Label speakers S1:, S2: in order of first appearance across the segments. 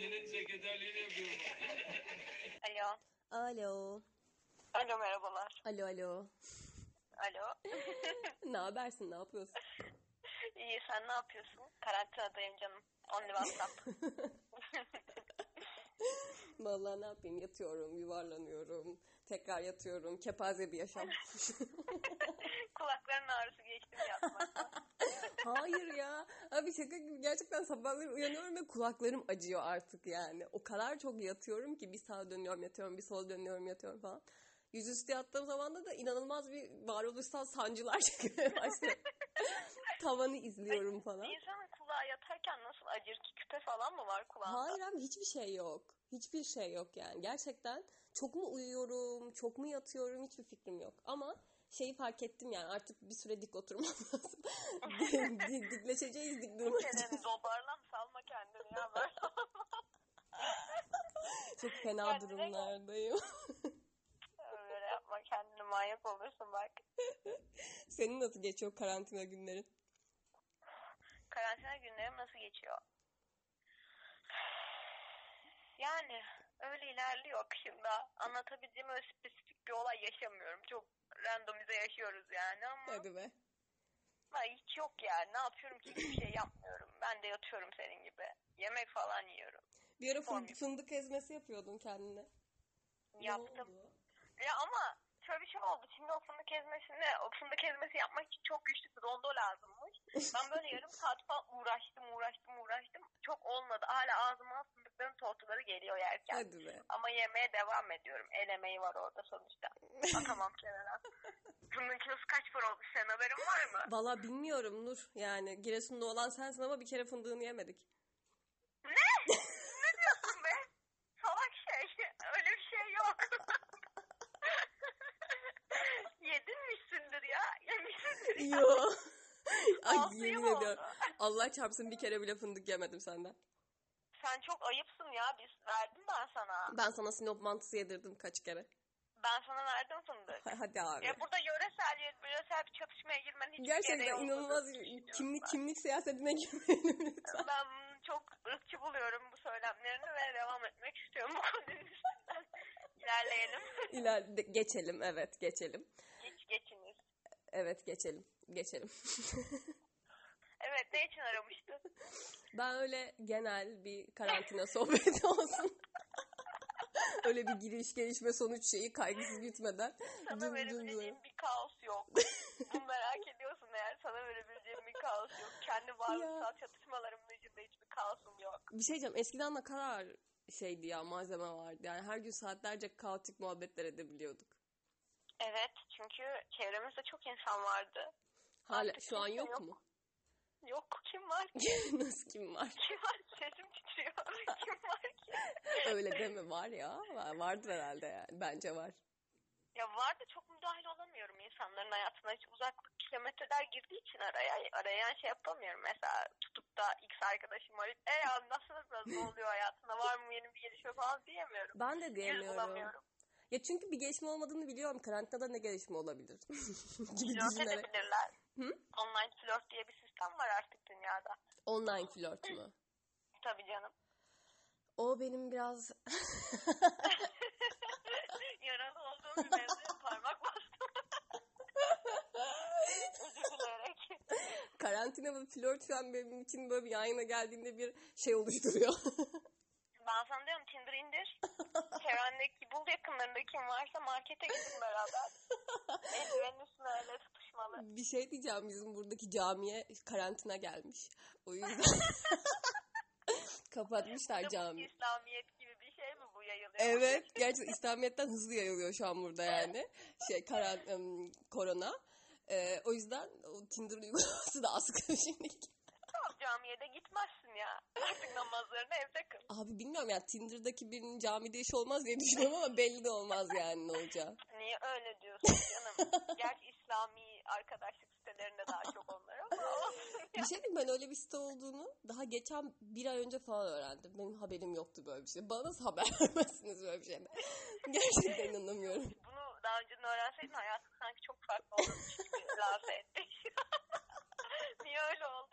S1: millet sekreterliğini yapıyorum.
S2: Alo.
S3: Alo.
S2: Alo merhabalar.
S3: Alo alo.
S2: Alo.
S3: ne habersin? Ne yapıyorsun?
S2: İyi sen ne yapıyorsun? Karantinadayım canım. Only WhatsApp.
S3: Vallahi ne yapayım? Yatıyorum, yuvarlanıyorum. Tekrar yatıyorum. Kepaze bir yaşam.
S2: Kulakların ağrısı geçti mi yatmaktan?
S3: Hayır ya. Abi şaka gibi gerçekten sabahları uyanıyorum ve kulaklarım acıyor artık yani. O kadar çok yatıyorum ki bir sağa dönüyorum yatıyorum, bir sola dönüyorum yatıyorum falan. Yüzüstü yattığım zamanda da inanılmaz bir varoluşsal sancılar çıkmaya başlıyor. Tavanı izliyorum falan.
S2: İnsanın kulağı yatarken nasıl acır ki? Küpe falan mı var kulağında?
S3: Hayır abi hiçbir şey yok. Hiçbir şey yok yani. Gerçekten çok mu uyuyorum, çok mu yatıyorum hiçbir fikrim yok. Ama şeyi fark ettim yani artık bir süre dik oturmam lazım. Dik- dik- dikleşeceğiz, dik durmayacağız.
S2: Senin dobarlan salma kendini ya böyle.
S3: Çok fena
S2: Ya direkt-
S3: durumlardayım.
S2: Öyle yapma kendini manyak olursun bak.
S3: Senin nasıl geçiyor karantina günlerin?
S2: Karantina günlerim nasıl geçiyor? Yani öyle ilerliyor akışında. Anlatabileceğim öyle spesifik bir olay yaşamıyorum. Çok randomize yaşıyoruz yani ama
S3: Hadi be.
S2: ama hiç yok yani. Ne yapıyorum ki hiçbir şey yapmıyorum. Ben de yatıyorum senin gibi. Yemek falan yiyorum.
S3: Bir ara fın-
S2: Sormayayım.
S3: fındık ezmesi yapıyordun kendine. Ne
S2: Yaptım.
S3: oldu?
S2: Ya ama şöyle bir şey oldu. Şimdi o fındık ezmesini, o fındık ezmesi yapmak için çok güçlü bir rondo lazımmış. Ben böyle yarım saat falan uğraştım, uğraştım, uğraştım. Çok olmadı. Hala ağzıma fındıkların tortuları geliyor yerken.
S3: Hadi be.
S2: Ama yemeye devam ediyorum. El emeği var orada sonuçta. Bakamam kenara. Bunun kilosu kaç para olmuş? Senin haberin var mı?
S3: Valla bilmiyorum Nur. Yani Giresun'da olan sensin ama bir kere fındığını yemedik.
S2: Ne? ne diyorsun be? Salak şey. Öyle bir şey yok. Yedinmişsindir ya. Yemişsindir ya.
S3: Yo. Ay
S2: Altı yıl
S3: yemin
S2: oldu.
S3: ediyorum. Allah çarpsın bir kere bile fındık yemedim senden.
S2: Sen çok ayıpsın ya. Biz verdim ben sana.
S3: Ben sana sinop mantısı yedirdim kaç kere.
S2: Ben sana verdim fındık.
S3: Ha- Hadi abi.
S2: Ya burada yöresel, yöresel bir çatışmaya girmen hiç gereği
S3: Gerçekten
S2: olmadı.
S3: inanılmaz kimlik kimlik siyasetine girmeyelim lütfen.
S2: Ben bunu çok ırkçı buluyorum bu söylemlerini ve devam etmek istiyorum bu konunun üstünden. İlerleyelim.
S3: İleride geçelim evet geçelim.
S2: Geç geçiniz.
S3: Evet geçelim. Geçelim.
S2: Evet ne için aramıştın?
S3: Ben öyle genel bir karantina sohbeti olsun. öyle bir giriş gelişme sonuç şeyi kaygısız gitmeden.
S2: Sana
S3: düm düm düm.
S2: verebileceğim bir kaos yok. Bunu merak ediyorsun eğer sana verebileceğim bir kaos yok. Kendi varlıksal çatışmalarımın içinde hiçbir kaosum yok.
S3: Bir şey diyeceğim eskiden ne kadar şeydi ya malzeme vardı. Yani her gün saatlerce kaotik muhabbetler edebiliyorduk.
S2: Evet çünkü çevremizde çok insan vardı.
S3: Hala
S2: Artık
S3: şu an
S2: kimse
S3: yok,
S2: yok.
S3: mu?
S2: Yok kim var ki?
S3: Nasıl kim var?
S2: Kim var? Sesim titriyor. kim var ki?
S3: Öyle deme var ya. Var- Vardır herhalde yani. Bence var.
S2: Ya var da çok müdahil olamıyorum insanların hayatına. Hiç uzaklık kilometreler girdiği için araya. Arayan şey yapamıyorum. Mesela tutup da X arkadaşım arayıp e anlatsana biraz ne oluyor hayatına var mı yeni bir gelişme falan diyemiyorum.
S3: Ben de
S2: Yüz
S3: diyemiyorum.
S2: bulamıyorum.
S3: Ya çünkü bir gelişme olmadığını biliyorum. Karantinada ne gelişme olabilir? gibi
S2: Flört
S3: düşünerek.
S2: edebilirler.
S3: Hı?
S2: Online flört diye bir sistem var artık dünyada.
S3: Online flört mü?
S2: Tabii canım.
S3: O benim biraz
S2: Yaralı olduğum bir mevzuya parmak bastım. Özür dileyerek.
S3: karantina ve flört falan benim için böyle bir yayına geldiğinde bir şey oluşturuyor.
S2: Ben sana diyorum Tinder indir. Çevrendeki bul yakınlarında kim varsa markete gidin beraber. Eldivenin üstüne öyle tutuşmalı.
S3: bir şey diyeceğim bizim buradaki camiye karantina gelmiş. O yüzden kapatmışlar
S2: Tıpkı
S3: camiyi.
S2: İslamiyet gibi bir şey mi bu yayılıyor?
S3: Evet, gerçekten İslamiyet'ten hızlı yayılıyor şu an burada yani. Şey karan em, korona. Ee, o yüzden o Tinder uygulaması da askı şimdi.
S2: Tamam camiye de gitmezsin ya. Artık namazlarını evde kıl.
S3: Abi bilmiyorum ya Tinder'daki birinin camide iş olmaz diye düşünüyorum ama belli de olmaz yani ne olacağı.
S2: Niye öyle diyorsun canım? Gerçi İslami arkadaşlık sitelerinde daha çok onlar ama olsun.
S3: Bir şey diyeyim ben öyle bir site olduğunu daha geçen bir ay önce falan öğrendim. Benim haberim yoktu böyle bir şey. Bana nasıl haber vermezsiniz böyle bir şeyden? Gerçekten inanamıyorum.
S2: Bunu daha önceden öğrenseydin hayatın sanki çok farklı olurmuş gibi lanse ettik. Niye öyle oldu?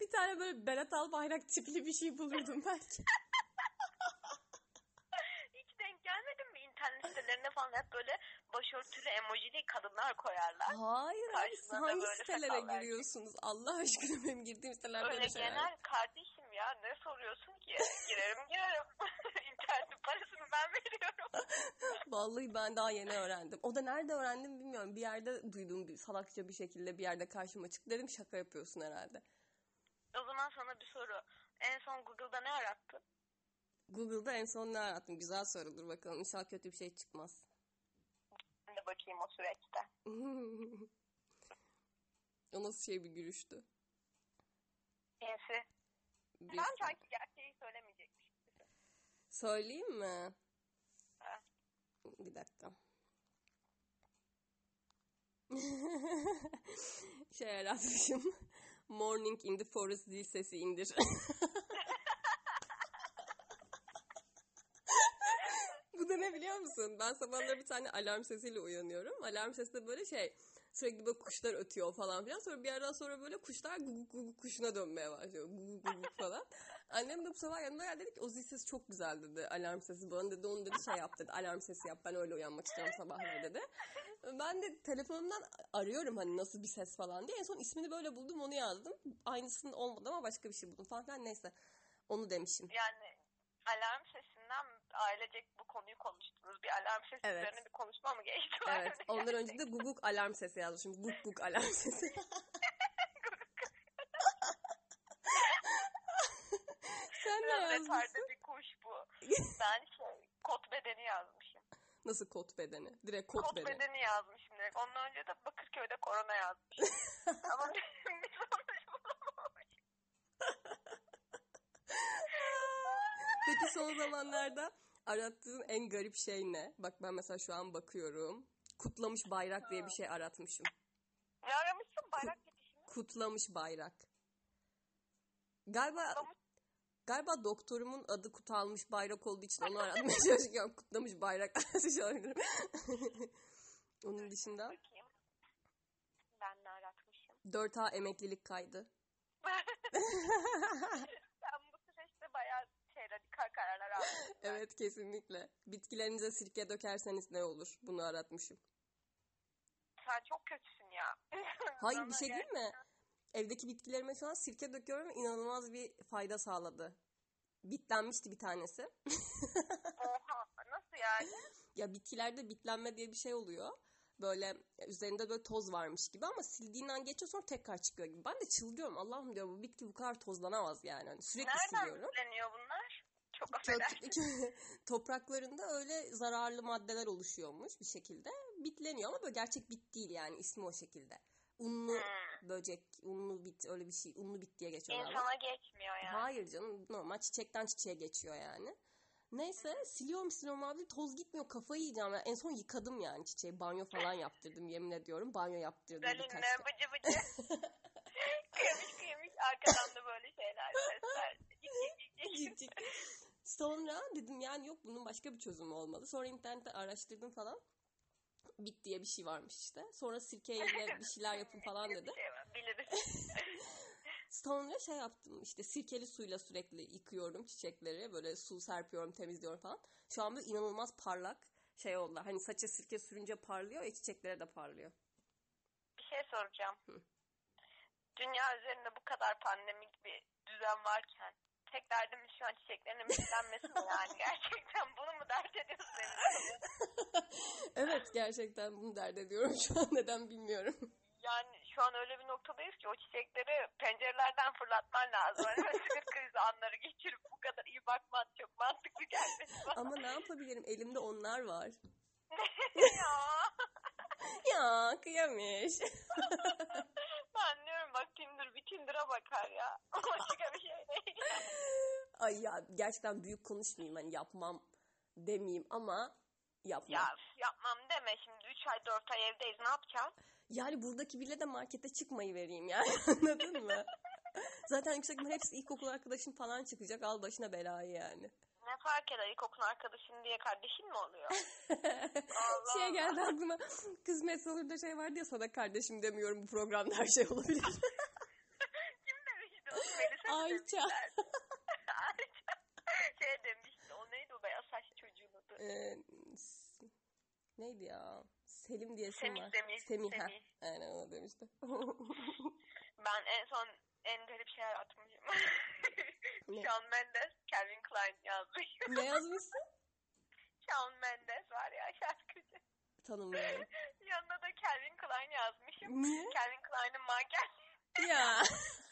S3: Bir tane böyle Berat Albayrak tipli bir şey bulurdum belki.
S2: hep böyle başörtülü emojili kadınlar koyarlar.
S3: Hayır abi siz
S2: Karşısına da
S3: hangi
S2: böyle
S3: sitelere
S2: sakallar.
S3: giriyorsunuz? Allah aşkına benim girdiğim siteler
S2: Öyle
S3: böyle şeyler.
S2: genel kardeşim ya ne soruyorsun ki? Girerim girerim. İnternetin parasını ben veriyorum.
S3: Vallahi ben daha yeni öğrendim. O da nerede öğrendim bilmiyorum. Bir yerde duyduğum bir salakça bir şekilde bir yerde karşıma çıktı. Dedim şaka yapıyorsun herhalde.
S2: O zaman sana bir soru. En son Google'da ne arattın?
S3: Google'da en son ne arattım? Güzel soru dur bakalım. İnşallah kötü bir şey çıkmaz.
S2: Ben de bakayım o süreçte.
S3: o nasıl şey bir gülüştü.
S2: Neyse.
S3: Bir...
S2: Ben sanki gerçeği söylemeyecekmişim.
S3: Söyleyeyim mi?
S2: Ha.
S3: Bir dakika. şey yaratmışım. Morning in the forest zil sesi indir. Bu da ne biliyor musun? Ben sabahları bir tane alarm sesiyle uyanıyorum. Alarm sesi de böyle şey sürekli böyle kuşlar ötüyor falan filan. Sonra bir yerden sonra böyle kuşlar guguk guguk kuşuna dönmeye başlıyor. Guguk guguk falan. Annem de bu sabah yanıma geldi dedi ki o zil sesi çok güzel dedi. Alarm sesi bana dedi. Onu dedi şey yap dedi. Alarm sesi yap. Ben öyle uyanmak istiyorum sabahları dedi. Ben de telefonumdan arıyorum hani nasıl bir ses falan diye. En son ismini böyle buldum onu yazdım. Aynısının olmadı ama başka bir şey buldum falan. filan. Neyse onu demişim.
S2: Yani alarm sesinden ailecek bu konuyu konuştunuz. Bir alarm sesi
S3: Evet.
S2: üzerine bir konuşma mı geçti?
S3: Evet. Ondan önce de guguk alarm sesi yazmışım. Guk guk alarm sesi. Sen ne
S2: Biraz
S3: yazmışsın?
S2: retarda bir kuş bu. Ben şey, kot bedeni yazmışım.
S3: Nasıl kot bedeni? Direkt kot,
S2: Kot, bedeni.
S3: bedeni.
S2: yazmışım direkt. Ondan önce de Bakırköy'de korona yazmışım. Ama bir bir sonuç bulamamış.
S3: Peki son zamanlarda arattığın en garip şey ne? Bak ben mesela şu an bakıyorum. Kutlamış bayrak diye bir şey aratmışım.
S2: Ne aramışsın? Bayrak yetişimi.
S3: Kutlamış bayrak. Galiba
S2: Kutlamış-
S3: galiba doktorumun adı kutalmış bayrak olduğu için onu aratmaya çalışırken kutlamış bayrak aratmış olabilirim. Onun dışında
S2: Bakayım. Ben ne aratmışım?
S3: 4A emeklilik kaydı.
S2: Sen bu süreçte bayağı şey, radikal kararlar aldın.
S3: Evet kesinlikle. Bitkilerinize sirke dökerseniz ne olur? Bunu aratmışım.
S2: Sen çok kötüsün ya.
S3: Hayır
S2: Sana
S3: bir şey
S2: gel-
S3: değil mi? Evdeki bitkilerime şu an sirke döküyorum ve inanılmaz bir fayda sağladı. Bitlenmişti bir tanesi.
S2: Oha nasıl yani?
S3: Ya bitkilerde bitlenme diye bir şey oluyor. Böyle üzerinde böyle toz varmış gibi ama sildiğin an geçiyor sonra tekrar çıkıyor gibi. Ben de çıldırıyorum. Allah'ım diyor bu bitki bu kadar tozlanamaz yani. Hani sürekli
S2: Nereden
S3: siliyorum.
S2: bileniyor bunlar? Çok
S3: Kök-
S2: affedersin.
S3: topraklarında öyle zararlı maddeler oluşuyormuş bir şekilde. Bitleniyor ama böyle gerçek bit değil yani ismi o şekilde. Unlu
S2: Hmm.
S3: böcek, unlu bit öyle bir şey. Unlu bit diye geçiyor. galiba.
S2: İnsana geçmiyor yani.
S3: Hayır canım normal çiçekten çiçeğe geçiyor yani. Neyse siliyorum siliyorum abi toz gitmiyor kafayı yiyeceğim. Yani en son yıkadım yani çiçeği banyo falan yaptırdım yemin ediyorum banyo yaptırdım
S2: Böyle
S3: birkaç
S2: ne
S3: kere.
S2: bıcı bıcı. kıymış kıymış arkadan da böyle şeyler sesler.
S3: Cik cik. Sonra dedim yani yok bunun başka bir çözümü olmalı. Sonra internette araştırdım falan. Bit diye bir şey varmış işte. Sonra sirkeyle bir şeyler yapın falan dedi.
S2: Şey var, Biliriz.
S3: Sonra şey yaptım işte sirkeli suyla sürekli yıkıyorum çiçekleri. Böyle su serpiyorum temizliyorum falan. Şu an böyle inanılmaz parlak şey oldular. Hani saça sirke sürünce parlıyor ya çiçeklere de parlıyor.
S2: Bir şey soracağım.
S3: Hı.
S2: Dünya üzerinde bu kadar pandemik bir düzen varken tek derdimiz şu an çiçeklerin beslenmesi mi yani? Gerçekten bunu mu dert ediyorsun?
S3: Evet gerçekten bunu dert ediyorum şu an neden bilmiyorum.
S2: Yani şu an öyle bir noktadayız ki o çiçekleri pencerelerden fırlatman lazım. Hani böyle sinir krizi anları geçirip bu kadar iyi bakman çok mantıklı gelmedi bana.
S3: Ama ne yapabilirim elimde onlar var.
S2: ya
S3: Ya kıyamış.
S2: ben diyorum bak Tinder bir Tinder'a bakar ya. Başka bir şey değil.
S3: Ay ya gerçekten büyük konuşmayayım hani yapmam demeyeyim ama yapmam.
S2: Ya üf, yapmam deme şimdi 3 ay 4 ay evdeyiz ne yapacağız?
S3: Yani buradaki bile de markete çıkmayı vereyim yani anladın mı? Zaten yüksek ihtimal hepsi ilkokul arkadaşın falan çıkacak al başına belayı yani.
S2: Ne fark eder ilkokul arkadaşın diye kardeşin mi oluyor? Allah
S3: Şeye
S2: Allah.
S3: Şey geldi aklıma kısmet olur da şey vardı ya sana kardeşim demiyorum bu programda her şey olabilir.
S2: Kim demişti onu? Melisa mı demişti?
S3: Ayça.
S2: Şey demişti o neydi o beyaz saçlı çocuğun adı?
S3: Ee, Neydi ya? Selim diye isim
S2: Semih
S3: var.
S2: Semih.
S3: Semih, ha.
S2: Semih.
S3: Aynen ona demişti.
S2: Ben en son en garip şeyler atmışım.
S3: Ne?
S2: Shawn Mendes, Calvin Klein yazmış.
S3: ne yazmışsın?
S2: Shawn Mendes var ya şarkıcı.
S3: Tanımıyorum.
S2: Yanına da Calvin Klein yazmışım.
S3: Niye?
S2: Calvin Klein'in manken.
S3: Ya.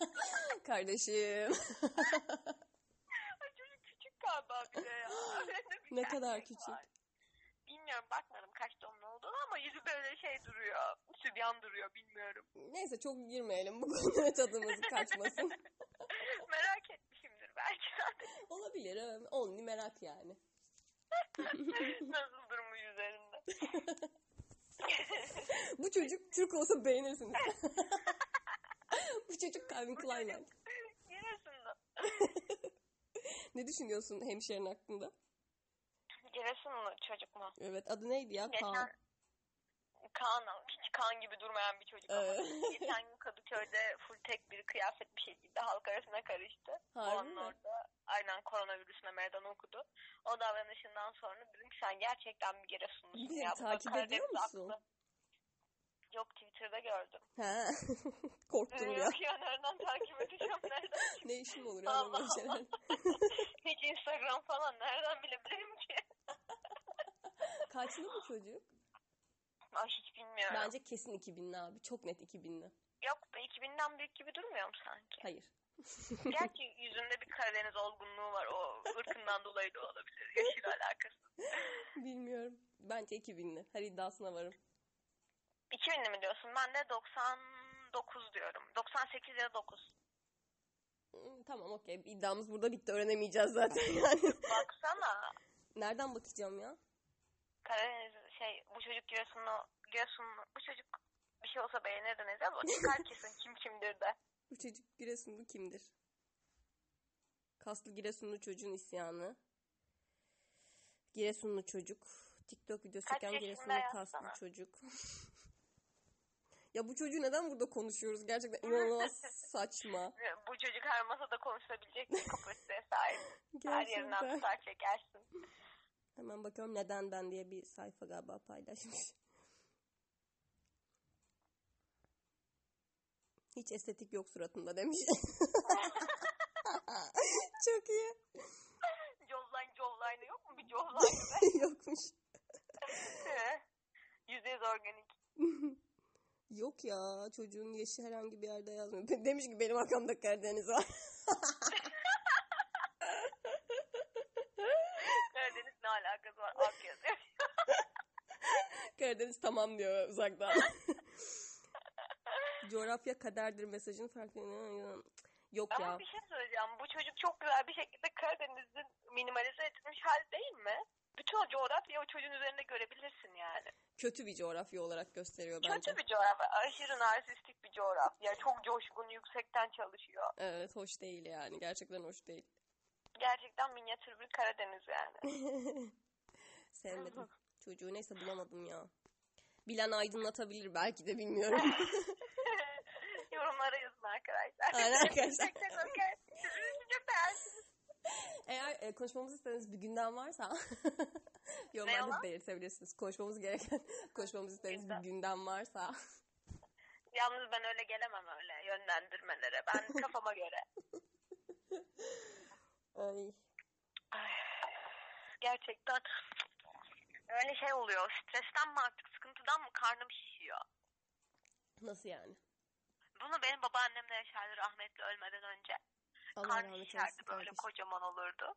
S3: Kardeşim.
S2: Ay Çocuk küçük galiba bir de ya. Önünde bir
S3: Ne kadar
S2: gerçek
S3: küçük.
S2: var. Bilmiyorum bakmadım kaç doğumlu olduğunu ama yüzü böyle şey duruyor. Sübyan duruyor bilmiyorum.
S3: Neyse çok girmeyelim bu konuya tadımız kaçmasın.
S2: Merak etmişimdir belki.
S3: Olabilir. evet. Only merak yani.
S2: Nasıl durumu üzerinde.
S3: Bu çocuk Türk olsa beğenirsiniz. bu çocuk Calvin
S2: Bu
S3: Klein.
S2: çocuk- Giresun'da.
S3: Ne düşünüyorsun hemşerin hakkında?
S2: Giresunlu çocuk mu?
S3: Evet adı neydi ya?
S2: Geçen-
S3: Kaan.
S2: Kaan hiç Kaan gibi durmayan bir çocuk ama.
S3: Evet.
S2: Geçen gün Kadıköy'de full tek bir kıyafet bir şey giydi. Halk arasına karıştı. O
S3: Harbi
S2: an
S3: mi?
S2: orada aynen koronavirüsüne meydan okudu. O davranışından sonra dedim ki sen gerçekten bir Giresunlusun
S3: Bir
S2: ya. Bu da
S3: takip ediyor
S2: Karadeniz
S3: musun?
S2: aklı. Yok Twitter'da gördüm.
S3: Ha. Korktum ya.
S2: Yok ya nereden takip edeceğim nereden?
S3: Ne işim olur ya
S2: Allah
S3: böyle
S2: Allah.
S3: şeyler.
S2: Hiç Instagram falan nereden bilebilirim ki?
S3: Kaçlı bu çocuk?
S2: Ay hiç bilmiyorum.
S3: Bence kesin 2000'li abi. Çok net 2000'li.
S2: Yok be, 2000'den büyük gibi durmuyor mu sanki?
S3: Hayır.
S2: Gerçi yüzünde bir Karadeniz olgunluğu var. O ırkından dolayı da olabilir. Yaşıyla alakası.
S3: Bilmiyorum. Bence 2000'li. Her iddiasına varım.
S2: 2000'li mi diyorsun? Ben de 99 diyorum. 98 ya da 9.
S3: Hmm, Tamam okey. İddiamız burada bitti. Öğrenemeyeceğiz zaten yani.
S2: Baksana.
S3: Nereden bakacağım ya?
S2: Karadeniz şey bu çocuk Giresunlu Giresunlu bu çocuk bir şey olsa beğenirdiniz ama çıkar kesin kim kimdir de.
S3: Bu çocuk Giresunlu kimdir? Kaslı Giresunlu çocuğun isyanı. Giresunlu çocuk. TikTok videosu
S2: Kaç
S3: çeken
S2: yaşında
S3: Giresunlu kaslı
S2: yazsana?
S3: çocuk. ya bu çocuğu neden burada konuşuyoruz? Gerçekten inanılmaz saçma.
S2: Bu çocuk her masada konuşabilecek bir kapasiteye sahip. Her yerinden
S3: Gerçekten.
S2: tutar çekersin.
S3: Hemen bakıyorum neden ben diye bir sayfa galiba paylaşmış. Hiç estetik yok suratında demiş. Çok iyi.
S2: Jolline Jolline'ı yok mu bir Jolline?
S3: Yokmuş.
S2: %100 organik.
S3: Yok ya çocuğun yaşı herhangi bir yerde yazmıyor. Demiş ki benim arkamda Karadeniz var.
S2: Karadeniz ne alakası var? Ak yazıyor.
S3: Karadeniz tamam diyor uzaktan. Coğrafya kaderdir mesajını farklı. Yok
S2: Ama
S3: ya.
S2: bir şey söyleyeceğim. Bu çocuk çok güzel bir şekilde Karadeniz'in minimalize edilmiş hal değil mi? Bütün o coğrafyayı o çocuğun üzerinde görebilirsin yani.
S3: Kötü bir coğrafya olarak gösteriyor bence.
S2: Kötü bir coğrafya. Aşırı narsistik bir coğrafya. Çok coşkun, yüksekten çalışıyor.
S3: Evet hoş değil yani. Gerçekten hoş değil.
S2: Gerçekten minyatür bir Karadeniz yani.
S3: Sevmedim. Çocuğu neyse bulamadım ya. Bilen aydınlatabilir belki de bilmiyorum.
S2: Yorumlara yazın arkadaşlar.
S3: Aynen arkadaşlar.
S2: Tek tek okey. Sizin çok beğendim.
S3: Eğer e, konuşmamızı istediğiniz bir gündem varsa yorumlarda
S2: yalan?
S3: belirtebilirsiniz. Konuşmamız gereken, konuşmamızı istediğiniz bir
S2: Gündem.
S3: gündem varsa.
S2: Yalnız ben öyle gelemem öyle yönlendirmelere. Ben kafama göre.
S3: Ay.
S2: Ay, Gerçekten öyle şey oluyor. Stresten mi artık sıkıntıdan mı karnım şişiyor.
S3: Nasıl yani?
S2: Bunu benim babaannemle yaşardı rahmetli ölmeden önce.
S3: Allah
S2: Karnı
S3: rahmet
S2: şişerdi
S3: eylesin
S2: böyle
S3: kardeşim.
S2: kocaman olurdu.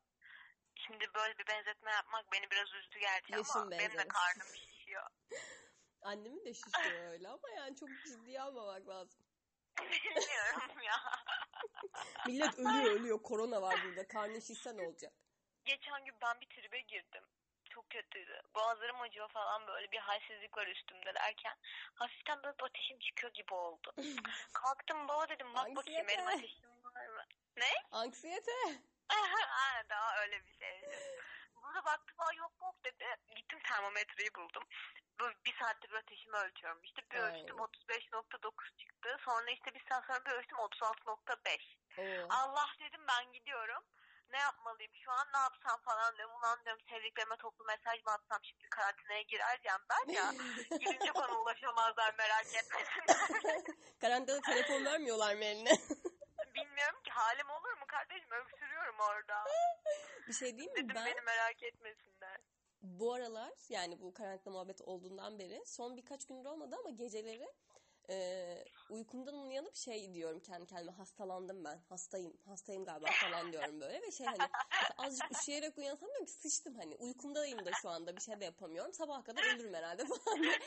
S2: Şimdi böyle bir benzetme yapmak beni biraz üzdü gerçi
S3: Yaşın
S2: ama benim de
S3: benzeriz.
S2: karnım şişiyor.
S3: Annemin de şişiyor öyle ama yani çok ciddiye almamak lazım.
S2: Bilmiyorum ya.
S3: Millet ölüyor ölüyor. Korona var burada. Karnı şişse ne olacak?
S2: Geçen gün ben bir tribe girdim. Çok kötüydü. Boğazlarım acıyor falan böyle bir halsizlik var üstümde derken hafiften böyle bir ateşim çıkıyor gibi oldu. Kalktım baba dedim bak bakayım benim
S3: Anksiyete.
S2: ateşim var mı?
S3: Anksiyete.
S2: Aynen, daha öyle bir şey. Burada baktım "Aa, yok yok dedi. Gittim termometreyi buldum. Böyle bir saattir bir ateşimi ölçüyorum. İşte bir
S3: Ay.
S2: ölçtüm 35.9 çıktı. Sonra işte bir saat sonra bir ölçtüm 36.5.
S3: Oo.
S2: Allah dedim ben gidiyorum. ne yapmalıyım şu an ne yapsam falan diyorum. Ulan diyorum sevdiklerime toplu mesaj mı atsam şimdi karantinaya girerken ben ya. Girince bana ulaşamazlar merak etmesinler.
S3: Karantinada telefon vermiyorlar mı eline?
S2: Bilmiyorum ki halim olur mu kardeşim öksürüyorum orada.
S3: bir şey değil mi?
S2: Dedim
S3: Ben
S2: beni merak etmesinler.
S3: bu aralar yani bu karantina muhabbeti olduğundan beri son birkaç gündür olmadı ama geceleri e, uykumdan uyanıp şey diyorum kendi kendime hastalandım ben hastayım hastayım galiba falan diyorum böyle ve şey hani mesela azıcık üşüyerek uyansam diyorum ki sıçtım hani uykumdayım da şu anda bir şey de yapamıyorum sabaha kadar ölürüm herhalde falan diye.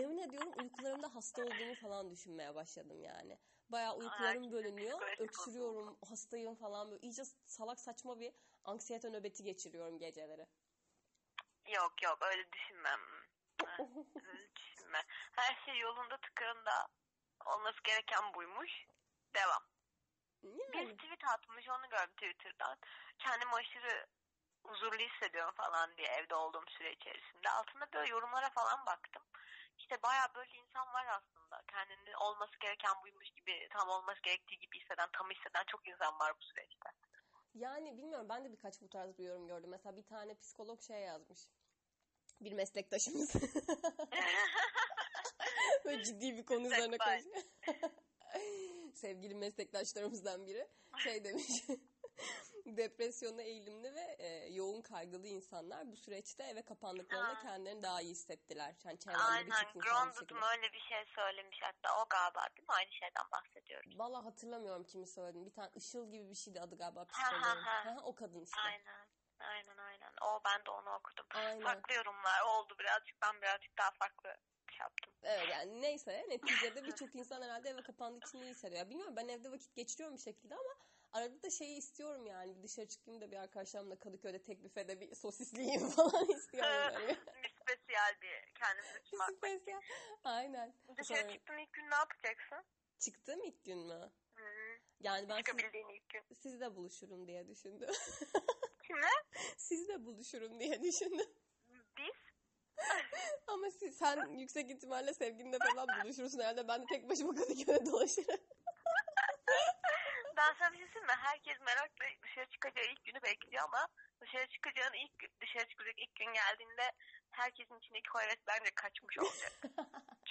S3: yemin ediyorum uykularımda hasta olduğumu falan düşünmeye başladım yani bayağı uykularım
S2: Ay,
S3: bölünüyor
S2: psikolojik bozulma.
S3: öksürüyorum hastayım falan böyle iyice salak saçma bir anksiyete nöbeti geçiriyorum geceleri
S2: Yok yok öyle düşünmem. Öyle düşünme. Her şey yolunda tıkırında. Olması gereken buymuş. Devam. Bir
S3: yani.
S2: tweet atmış onu gördüm Twitter'dan. Kendimi aşırı huzurlu hissediyorum falan diye evde olduğum süre içerisinde. Altında böyle yorumlara falan baktım. İşte baya böyle insan var aslında. Kendini olması gereken buymuş gibi, tam olması gerektiği gibi hisseden, tam hisseden çok insan var bu süreçte.
S3: Yani bilmiyorum ben de birkaç bu tarz bir yorum gördüm. Mesela bir tane psikolog şey yazmış. Bir meslektaşımız böyle ciddi bir konu üzerine
S2: Meslek bay.
S3: konuşuyor. Sevgili meslektaşlarımızdan biri şey demiş. Depresyona eğilimli ve e, yoğun kaygılı insanlar bu süreçte eve kapandıklarında
S2: Ha.
S3: kendilerini daha iyi hissettiler. Yani çevremde
S2: Aynen.
S3: birçok insan bu
S2: Grounded
S3: şekilde.
S2: mı öyle bir şey söylemiş hatta. O galiba değil mi? Aynı şeyden bahsediyoruz.
S3: Valla hatırlamıyorum kimi söyledim. Bir tane Işıl gibi bir şeydi adı galiba
S2: ha,
S3: psikoloğun.
S2: ha.
S3: Ha, ha, o kadın işte.
S2: Aynen. Aynen aynen. O ben de onu okudum.
S3: Aynen.
S2: Farklı yorumlar oldu birazcık. Ben birazcık daha farklı şey yaptım.
S3: Evet yani neyse neticede birçok insan herhalde eve kapandığı için iyi hissediyor. Ya Bilmiyorum ben evde vakit geçiriyorum bir şekilde ama arada da şeyi istiyorum yani bir dışarı çıkayım da bir arkadaşlarımla Kadıköy'de tek büfede bir sosisli yiyeyim falan istiyorum. Böyle.
S2: bir spesiyel bir kendimizi
S3: bir
S2: tutmak.
S3: spesiyel. Aynen.
S2: Dışarı
S3: Sonra-
S2: çıktığın ilk gün ne yapacaksın?
S3: Çıktığım ilk gün mü?
S2: Hı hı.
S3: Yani ben siz,
S2: Çıkabildiğin ilk gün.
S3: sizle buluşurum diye düşündüm.
S2: Kimle?
S3: sizle buluşurum diye düşündüm.
S2: Biz.
S3: Ama siz, sen yüksek ihtimalle sevgilinle falan buluşursun herhalde. Ben de tek başıma Kadıköy'de dolaşırım.
S2: Ben sana bir şey söyleyeyim mi? Herkes merakla dışarı çıkacağı ilk günü bekliyor ama dışarı çıkacağın ilk gün- dışarı çıkacak ilk gün geldiğinde herkesin içindeki hayret bence kaçmış olacak.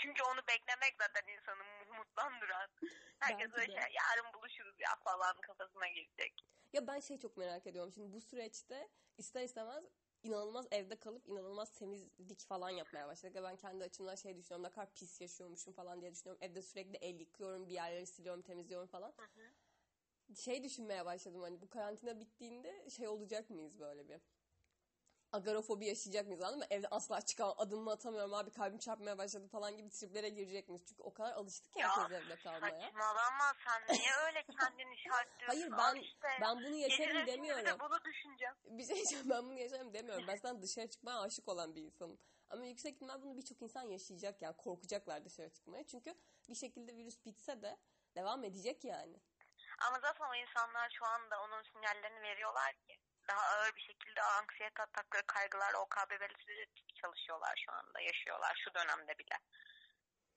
S2: Çünkü onu beklemek zaten insanı umutlandıran. Herkes
S3: Bence
S2: öyle
S3: de.
S2: şey, yarın buluşuruz ya falan kafasına girecek.
S3: Ya ben şey çok merak ediyorum. Şimdi bu süreçte ister istemez inanılmaz evde kalıp inanılmaz temizlik falan yapmaya başladık. Ve ben kendi açımdan şey düşünüyorum. Ne kadar pis yaşıyormuşum falan diye düşünüyorum. Evde sürekli el yıkıyorum, bir yerleri siliyorum, temizliyorum falan. Şey düşünmeye başladım hani bu karantina bittiğinde şey olacak mıyız böyle bir? Agorofobi yaşayacak mıyız anladın mı? Evde asla çıkamam, adımımı atamıyorum abi kalbim çarpmaya başladı falan gibi triplere girecek miyiz? Çünkü o kadar alıştık ya
S2: Ya,
S3: herkes evde kalmaya.
S2: Saçmalama sen niye öyle kendini şartlıyorsun?
S3: Hayır,
S2: Al
S3: ben-
S2: işte.
S3: Ben bunu yaşarım
S2: Geceleri şimdi bir de
S3: demiyorum.
S2: bunu düşüneceğim.
S3: Bir şey diyeceğim ben bunu yaşarım demiyorum. Ben zaten dışarı çıkmaya aşık olan bir insanım. Ama yüksek ihtimal bunu birçok insan yaşayacak yani korkacaklar dışarı çıkmaya. Çünkü bir şekilde virüs bitse de devam edecek yani.
S2: Ama zaten o insanlar şu anda onun sinyallerini veriyorlar ki. Daha ağır bir şekilde anksiyete atakları, kaygılar, OKB'li çalışıyorlar şu anda, yaşıyorlar şu dönemde bile.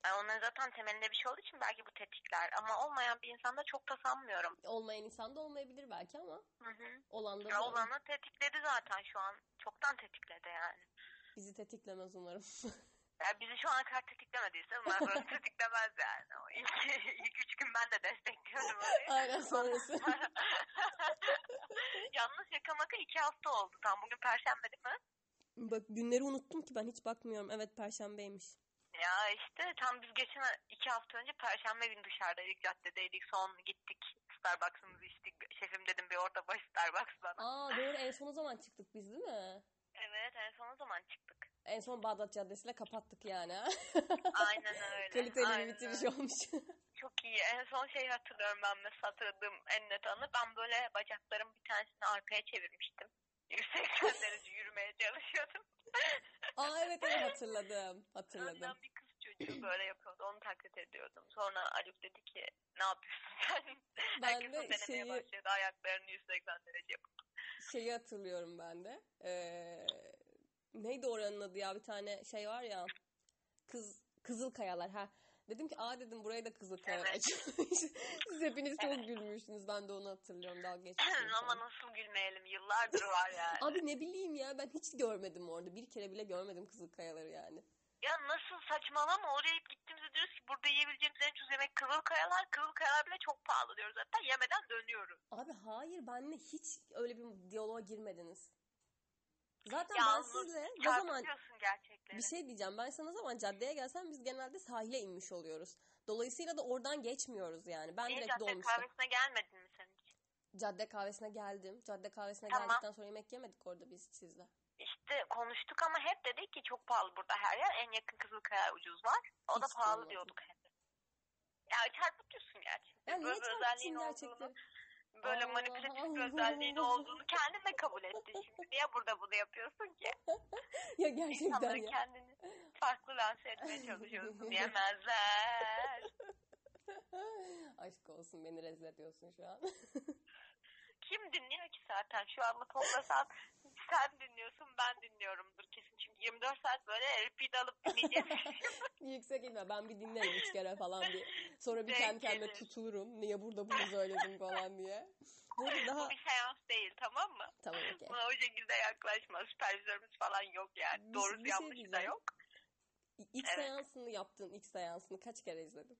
S2: Yani onların zaten temelinde bir şey olduğu için belki bu tetikler. Ama olmayan bir insanda çok da sanmıyorum.
S3: Olmayan insan da olmayabilir belki ama
S2: Hı hı.
S3: olan da
S2: Ya
S3: da
S2: Olanı tetikledi zaten şu an. Çoktan tetikledi yani.
S3: bizi tetiklemez umarım.
S2: Ya bizi şu ana kadar tetiklemediyse bunlar böyle tetiklemez yani. O ilk, ilk üç gün ben de destekliyorum orayı.
S3: Aynen sonrası.
S2: Yalnız yaka maka iki hafta oldu tam. Bugün perşembe değil mi?
S3: Bak günleri unuttum ki ben hiç bakmıyorum. Evet perşembeymiş.
S2: Ya işte tam biz geçen iki hafta önce perşembe günü dışarıdaydık, caddedeydik. Son gittik Starbucks'ımızı içtik. Şefim dedim bir orta baş Starbucks bana.
S3: Aa doğru en son o zaman çıktık biz değil mi?
S2: Evet en son o zaman çıktık.
S3: En son Bağdat Caddesi'yle kapattık yani. ha.
S2: Aynen öyle.
S3: Kaliteli
S2: aynen
S3: bir bitiriş
S2: öyle.
S3: olmuş.
S2: Çok iyi. En son şey hatırlıyorum ben mesela hatırladığım en net anı. Ben böyle bacaklarım bir tanesini arkaya çevirmiştim. 180 derece yürümeye çalışıyordum.
S3: Aa evet evet hatırladım. Hatırladım.
S2: Önden bir kız çocuğu böyle yapıyordu. Onu taklit ediyordum. Sonra Haluk dedi ki ne yapıyorsun sen? Herkes
S3: Ben
S2: onu
S3: de
S2: denemeye
S3: şeyi,
S2: başladı. Ayaklarını 180 derece yapıp.
S3: şeyi hatırlıyorum ben de. Ee, neydi oranın adı ya bir tane şey var ya. Kız Kızıl Kayalar ha. Dedim ki aa dedim buraya da kızıl kayan
S2: Evet.
S3: açılmış. Siz hepiniz çok gülmüşsünüz. Ben de onu hatırlıyorum. Dalga geçmiştim.
S2: Ama nasıl gülmeyelim yıllardır var yani.
S3: Abi ne bileyim ya ben hiç görmedim orada. Bir kere bile görmedim kızıl kayaları yani.
S2: Ya nasıl saçmalama oraya hep gittiğimizde diyoruz ki burada yiyebileceğimiz en ucuz yemek kızılkayalar. Kızılkayalar bile çok pahalı diyoruz hatta yemeden dönüyoruz.
S3: Abi hayır benle hiç öyle bir diyaloğa girmediniz. Zaten
S2: Yalnız
S3: ben sizle ne zaman
S2: Çarpıtıyorsun gerçekleri.
S3: bir şey diyeceğim. Ben sana ne zaman caddeye gelsem biz genelde sahile inmiş oluyoruz. Dolayısıyla da oradan geçmiyoruz yani. Ben
S2: Niye
S3: direkt
S2: cadde
S3: dolmuşta.
S2: kahvesine gelmedin mi sen hiç?
S3: Cadde kahvesine geldim. Cadde kahvesine
S2: Tamam.
S3: geldikten sonra yemek yemedik orada biz sizle.
S2: İşte konuştuk ama hep dedik ki çok pahalı burada her yer. En yakın Kızılkaya ucuz var. O da
S3: Hiç
S2: pahalı
S3: duymadım.
S2: diyorduk hep. Ya çarpıtıyorsun gerçekten.
S3: Ya niye
S2: böyle bir özelliğin
S3: çarpıtayım
S2: olduğunu,
S3: gerçekten?
S2: böyle
S3: Allah
S2: manipülatif bir
S3: Allah.
S2: özelliğin olduğunu kendin de kabul ettin. Şimdi niye burada bunu yapıyorsun ki?
S3: Ya gerçekten
S2: İnsanları
S3: ya.
S2: kendini farklı lanse etmeye çalışıyorsun diyemezler.
S3: Aşk olsun beni rezil ediyorsun şu an.
S2: Kim dinliyor ki zaten? Şu anda toplasan sen dinliyorsun ben dinliyorumdur kesin. Çünkü 24 saat böyle repeat alıp dinleyeceğim.
S3: Yüksek ihtimal ben bir dinlerim üç kere falan diye. Sonra bir
S2: Denk
S3: kendi kendime
S2: gelir.
S3: tutulurum. Niye burada bunu söyledim falan diye. Böyle daha...
S2: Bu bir seans değil tamam mı?
S3: Tamam okey.
S2: Buna o şekilde yaklaşma. Süpervizörümüz falan yok yani.
S3: Bir-
S2: Doğrusu
S3: bir şey
S2: yanlışı da
S3: diyeceğim.
S2: yok.
S3: İlk
S2: Evet.
S3: seansını yaptın. ilk seansını kaç kere izledin?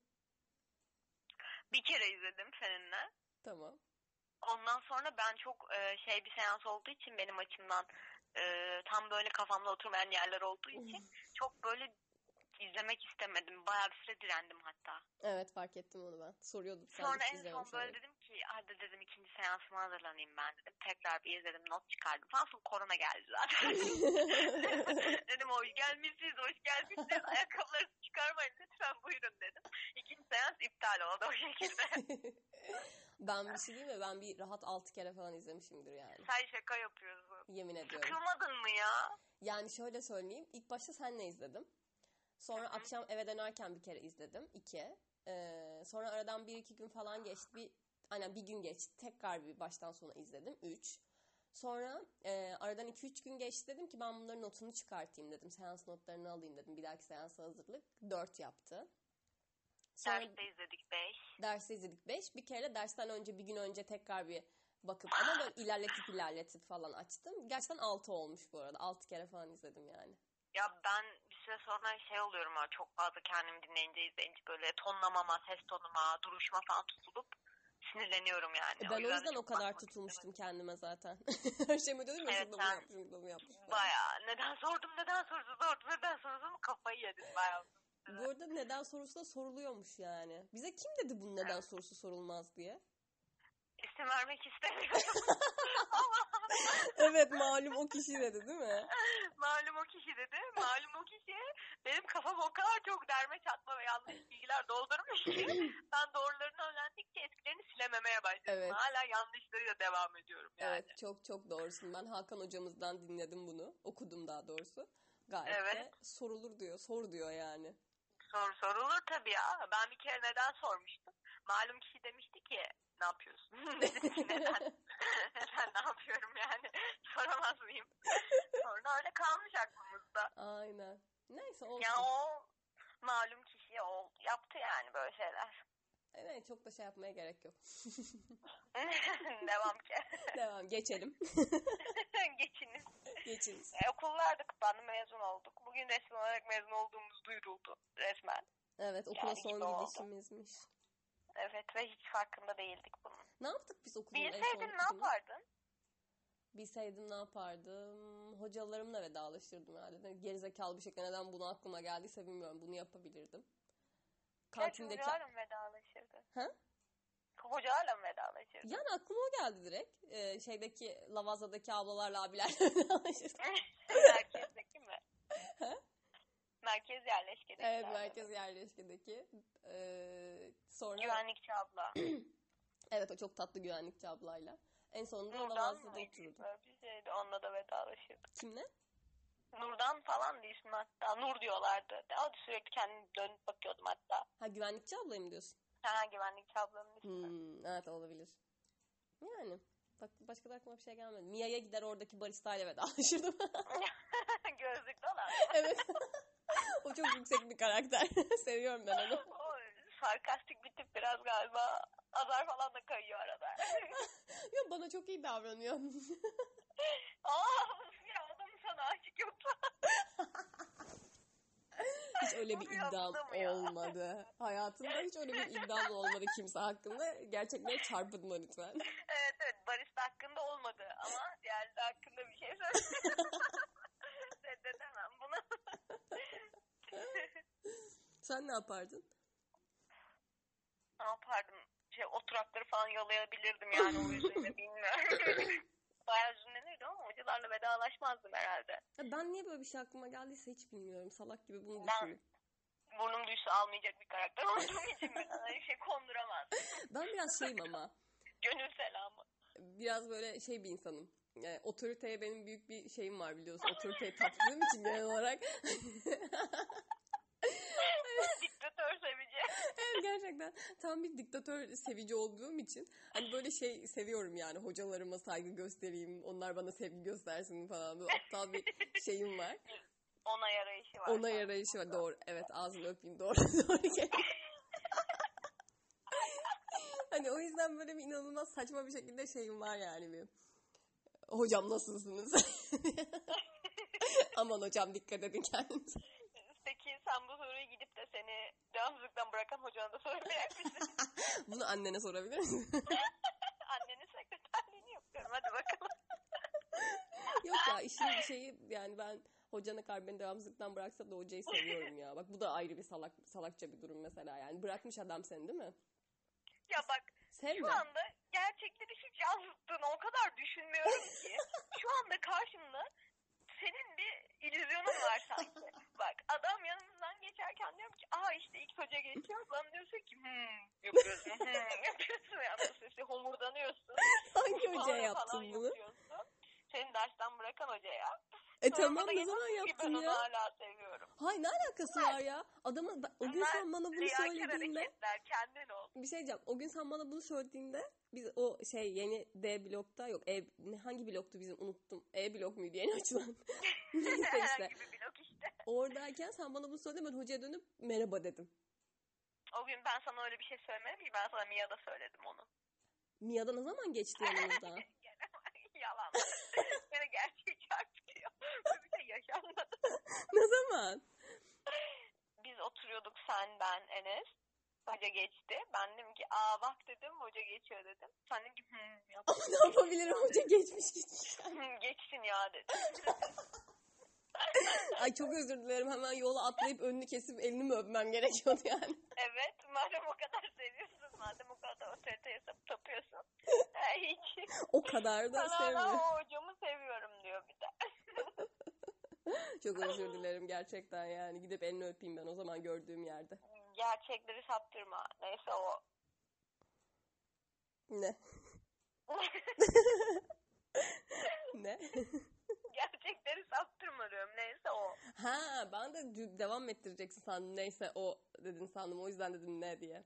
S2: Bir kere izledim seninle.
S3: Tamam.
S2: Ondan sonra ben çok e, şey bir seans olduğu için benim açımdan e, tam böyle kafamda oturmayan yerler olduğu için çok böyle izlemek istemedim. Bayağı bir süre direndim hatta.
S3: Evet fark ettim onu ben. Soruyordum. sen
S2: Sonra
S3: hiç
S2: en son
S3: izlememiş
S2: böyle
S3: miydin?
S2: dedim ki hadi dedim ikinci seansıma hazırlanayım ben dedim. Tekrar bir izledim not çıkardım falan sonra korona geldi zaten. dedim hoş gelmişsiniz hoş gelmişsiniz ayakkabılarınızı çıkarmayın lütfen buyurun dedim. İkinci seans iptal oldu o şekilde.
S3: ben bir şey diyeyim mi? Ben bir rahat altı kere falan izlemişimdir yani.
S2: Sen şaka yapıyorsun.
S3: Yemin ediyorum.
S2: Sıkılmadın mı ya?
S3: Yani şöyle söyleyeyim. İlk başta senle izledim. Sonra akşam eve dönerken bir kere izledim. iki. Ee, sonra aradan bir iki gün falan geçti. Bir, aynen bir gün geçti. Tekrar bir baştan sona izledim. Üç. Sonra e, aradan iki üç gün geçti dedim ki ben bunların notunu çıkartayım dedim. Seans notlarını alayım dedim. Bir dahaki seansa hazırlık. Dört yaptı. Sonra
S2: Derste izledik 5.
S3: dersi izledik beş. Bir kere de dersten önce bir gün önce tekrar bir bakıp ama böyle ilerletip ilerletip falan açtım. Gerçekten altı olmuş bu arada. Altı kere falan izledim yani.
S2: Ya ben bir süre sonra şey oluyorum ha çok fazla kendimi dinleyince izleyince böyle tonlamama, ses tonuma, duruşma falan tutulup sinirleniyorum yani.
S3: E ben o yüzden o
S2: çok
S3: kadar
S2: bakmak
S3: tutulmuştum kendime zaten. Her şeyime diyordum ya
S2: Evet,
S3: şurada bunu
S2: sen-
S3: yapmışım, şurada bunu yapmışım. falan.
S2: Baya neden sordum neden sordum sordum neden sordum kafayı yedim baya.
S3: Bu arada neden sorusu da soruluyormuş yani. Bize kim dedi bunun neden sorusu sorulmaz diye?
S2: İsim vermek istemiyorum ama
S3: evet malum o kişi dedi değil mi?
S2: malum o kişi dedi. Malum o kişi benim kafam o kadar çok derme çatma ve yanlış bilgiler doldurmuş ki ben doğrularını öğrendikçe eskilerini silememeye başladım.
S3: Evet.
S2: Hala yanlışlarıyla devam ediyorum yani.
S3: Evet çok çok doğrusun. Ben Hakan hocamızdan dinledim bunu. Okudum daha doğrusu. Gayet de
S2: Evet.
S3: sorulur diyor. Sor diyor yani.
S2: Soru sorulur tabii ya. Ben bir kere neden sormuştum. Malum kişi demişti ki ne yapıyorsun? Dedim ki, neden? neden ne yapıyorum yani? Soramaz mıyım? Sonra öyle kalmış aklımızda.
S3: Aynen. Neyse olsun.
S2: Ya o malum kişiye o yaptı yani böyle şeyler.
S3: Evet çok da şey yapmaya gerek yok.
S2: Devam ki.
S3: Devam geçelim.
S2: Geçiniz.
S3: Geçiniz.
S2: E, okullar da kapandı mezun olduk. Bugün resmi olarak mezun olduğumuz duyuruldu resmen.
S3: Evet okula
S2: Yani iyi
S3: son
S2: oldu.
S3: gidişimizmiş.
S2: Evet ve hiç farkında değildik bunun.
S3: Ne yaptık biz okulun en son
S2: Bilseydin ne
S3: kısmını?
S2: yapardın?
S3: Bilseydim ne yapardım? Hocalarımla vedalaşırdım herhalde. Ne Gerizekalı bir şekilde neden bunu aklıma geldiyse bilmiyorum. Bunu yapabilirdim.
S2: Kantindeki...
S3: Kantindeki...
S2: Hocalarla mı vedalaşırdın?
S3: Ha?
S2: Hocalarla mı vedalaşırdın?
S3: Yani aklıma o geldi direkt. Ee, şeydeki Lavaza'daki ablalarla abilerle vedalaşırdım.
S2: Merkezdeki mi?
S3: Ha?
S2: Merkez yerleşkedeki.
S3: Evet
S2: zaten.
S3: merkez yerleşkedeki. Ee, sonra...
S2: Güvenlikçi abla.
S3: Evet o çok tatlı güvenlikçi ablayla. En sonunda
S2: Nurdan
S3: Lavaza'da
S2: mıydı?
S3: otururdum.
S2: Böyle bir şeydi. Onunla da vedalaşırdık.
S3: Kimle?
S2: Nurdan falan da ismi hatta. Nur diyorlardı. Daha da sürekli kendimi dönüp bakıyordum hatta.
S3: Ha güvenlikçi ablayım diyorsun.
S2: Ha güvenlikçi ablanın ismi.
S3: Hmm, evet olabilir. Yani. Bak, başka da aklıma bir şey gelmedi. Mia'ya gider oradaki baristayla vedalaşırdım.
S2: Gözlüklü olan.
S3: evet. o çok yüksek bir karakter. Seviyorum ben onu.
S2: O sarkastik bir tip biraz galiba. Azar falan da kayıyor arada.
S3: Yok bana çok iyi davranıyor.
S2: Aa ya adam sana aşık yoksa.
S3: Hiç öyle bir
S2: Bunu yaptım
S3: iddiam
S2: ya.
S3: olmadı. Hayatımda hiç öyle bir iddiam da olmadı kimse hakkında. Gerçekten çarpıtma lütfen.
S2: Evet evet barista hakkında olmadı ama diğerleri hakkında bir şey söyledim. Reddedemem bunu.
S3: Sen ne yapardın?
S2: ne yapardım? Şey, oturakları falan yalayabilirdim yani o yüzden bilmiyorum. Bayağı üzünlenirdim ama hocalarla vedalaşmazdım herhalde.
S3: Ya ben niye böyle bir şey aklıma geldiyse hiç bilmiyorum. Salak gibi bunu
S2: Ben-
S3: düşünüyorum.
S2: Burnum duysa almayacak bir karakter olduğum için ben ona bir şey konduramaz.
S3: Ben biraz şeyim ama.
S2: Gönül selamı.
S3: Biraz böyle şey bir insanım. Yani otoriteye benim büyük bir şeyim var biliyorsun. Otoriteye taptığım için genel olarak.
S2: Diktatör sevici.
S3: Evet, gerçekten tam bir diktatör sevici olduğum için. Hani böyle şey seviyorum yani hocalarıma saygı göstereyim. Onlar bana sevgi göstersin falan. Böyle aptal bir şeyim var.
S2: Ona yarayışı var.
S3: Ona yarayışı var. Doğru. Evet ağzını öpeyim. Doğru. Doğru. hani o yüzden böyle bir inanılmaz saçma bir şekilde şeyim var yani bir. Hocam nasılsınız? Aman hocam dikkat edin kendinize.
S2: Peki sen bu soruyu gidip de seni devamsızlıktan bırakan hocana da sormaya yaklaşırsın.
S3: Bunu annene sorabilir misin?
S2: Annenin sekreterliğini yapıyorum. Hadi bakalım.
S3: Yok ya işin şeyi yani ben hocana kadar beni devamsızlıktan bıraksa da hocayı seviyorum ya. Bak bu da ayrı bir salak salakça bir durum mesela yani. Bırakmış adam seni değil mi?
S2: Ya bak
S3: Sevme.
S2: Şu anda gerçekleri hiç yansıttığını o kadar düşünmüyorum ki. Şu anda karşımda senin bir illüzyonun var sanki. Bak adam yanımızdan geçerken diyorum ki aa işte ilk hoca geçiyor. Bana diyorsun ki hmm yapıyorsun. Hmm yapıyorsun. Yani sesi homurdanıyorsun.
S3: Hangi hoca
S2: falan
S3: yaptın bunu?
S2: yapıyorsun. Seni dersten bırakan hocaya.
S3: E
S2: Sonra
S3: tamam
S2: bana
S3: ne
S2: geliyorsun
S3: zaman
S2: ki
S3: yaptın
S2: ben onu
S3: ya?
S2: hala seviyorum.
S3: Hay ne alakası var ya? Adamın ben- o gün
S2: Bunlar
S3: sen bana bunu
S2: Riyakar
S3: söylediğinde
S2: hareketler kendin ol.
S3: bir şey diyeceğim. O gün sen bana bunu söylediğinde biz o şey yeni D blokta yok E ne- hangi bloktu bizim unuttum. E blok muydu yeni açılan? Neyse işte.
S2: Herhangi bir blok işte.
S3: Oradayken sen bana bunu söyledin ben hocaya dönüp merhaba dedim.
S2: O gün ben sana öyle bir şey söylemedim ki ben sana Mia'da söyledim onu.
S3: Mia'da ne zaman geçti yanımızda?
S2: Yalan. Yine gerçeği çarpıtıyor. Böyle bir şey yaşanmadı.
S3: ne zaman?
S2: Biz oturuyorduk sen, ben, Enes. Hoca geçti. Ben dedim ki aa bak dedim hoca geçiyor dedim. Sen dedim ki hımm yaptım.
S3: ne yapabilirim hoca geçmiş gitmiş.
S2: "Hımm, geçsin ya dedim.
S3: Ay çok özür dilerim hemen yola atlayıp önünü kesip elini mi öpmem gerekiyordu yani.
S2: Evet madem o kadar seviyorsun madem o kadar otoriteye sap tapıyorsun. "Ee, Hiç.
S3: O kadar da
S2: Sana
S3: sevmiyorum.
S2: o hocamı seviyorum diyor bir de.
S3: Çok özür dilerim gerçekten yani. Gidip elini öpeyim ben o zaman gördüğüm yerde.
S2: Gerçekleri saptırma. Neyse o
S3: Ne? ne?
S2: gerçekleri saptırma diyorum. Neyse o.
S3: Ha ben de dü- devam ettireceksin sandım. Neyse o dedin sandım. O yüzden dedim ne diye.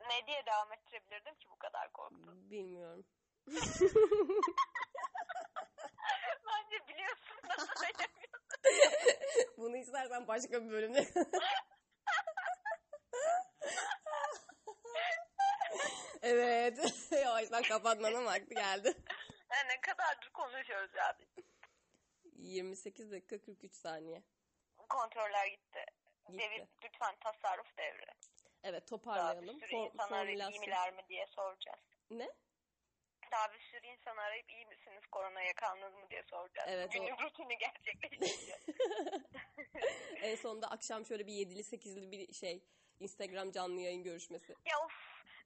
S2: Ne diye devam ettirebilirdim ki bu kadar korktun?
S3: Bilmiyorum.
S2: Bence biliyorsun nasıl söylemiyorsun.
S3: Bunu istersen başka bir bölümde. evet. Yavaştan kapatmanın vakti geldi.
S2: Yani ne kadardır konuşuyoruz ya.
S3: 28 dakika 43 saniye.
S2: Kontroller gitti.
S3: Gitti.
S2: Devir, lütfen tasarruf devri. Daha
S3: Evet
S2: bir
S3: toparlayalım.
S2: sürü
S3: For-
S2: insan arayıp iyi
S3: formülasyon.
S2: miler mi diye soracağız.
S3: Ne?
S2: Daha bir sürü insan arayıp iyi misiniz korona yakaldınız mı diye soracağız.
S3: Evet, o-
S2: Günlük rutini gerçekleştireceğiz.
S3: En sonunda akşam şöyle bir yedili sekizli bir şey Instagram canlı yayın görüşmesi.
S2: ya of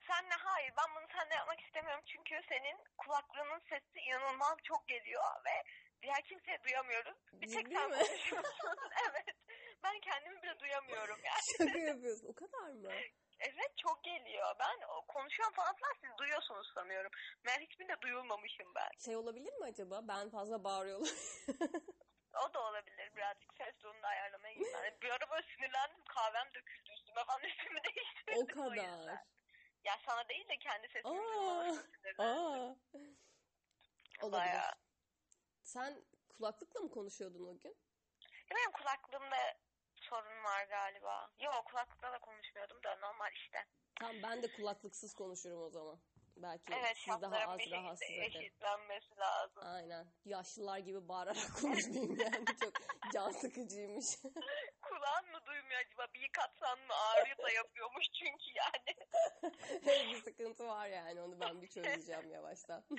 S2: senle hayır ben bunu seninle yapmak istemiyorum çünkü senin kulaklığının sesi inanılmaz çok geliyor ve diğer kimseye duyamıyoruz. Bir tek
S3: Ciddi
S2: sen
S3: mi?
S2: konuşuyorsun. evet. Ben kendimi bile duyamıyorum yani.
S3: Şaka yapıyorsun. O kadar mı?
S2: Evet çok geliyor. Ben o konuşuyorum falan filan siz duyuyorsunuz sanıyorum. Ben hiçbirinde duyulmamışım ben.
S3: Şey olabilir mi acaba? Ben fazla bağırıyorum.
S2: O da olabilir birazcık ses tonunu da ayarlamaya gittim. Yani bir ara böyle sinirlendim kahvem döküldü üstüme falan üstümü değiştirdim.
S3: o
S2: yüzden.
S3: kadar.
S2: Ya sana değil de kendi sesimi
S3: Aa,
S2: duymanızla sinirlendim.
S3: Aa. Olabilir.
S2: Bayağı.
S3: Sen kulaklıkla mı konuşuyordun o gün?
S2: Ya Benim kulaklığımda sorun var galiba. Yok kulaklıkla da konuşmuyordum da normal işte.
S3: Tamam ben de kulaklıksız konuşurum o zaman. Belki
S2: Evet
S3: siz daha
S2: şartların
S3: az
S2: bir şekilde
S3: rahatsız eder.
S2: eşitlenmesi lazım.
S3: Aynen. Yaşlılar gibi bağırarak konuşmayayım yani. Çok can sıkıcıymış.
S2: Kulağın mı duymuyor acaba? Bir katsan mı ağrı da yapıyormuş çünkü yani.
S3: bir sıkıntı var yani. Onu ben bir çözeceğim yavaştan.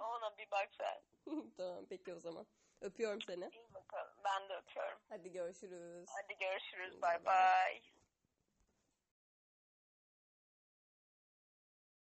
S2: Ona bir bak sen.
S3: tamam peki o zaman. Öpüyorum seni.
S2: İyi bakalım. Ben de öpüyorum.
S3: Hadi görüşürüz.
S2: Hadi görüşürüz. Bay bay.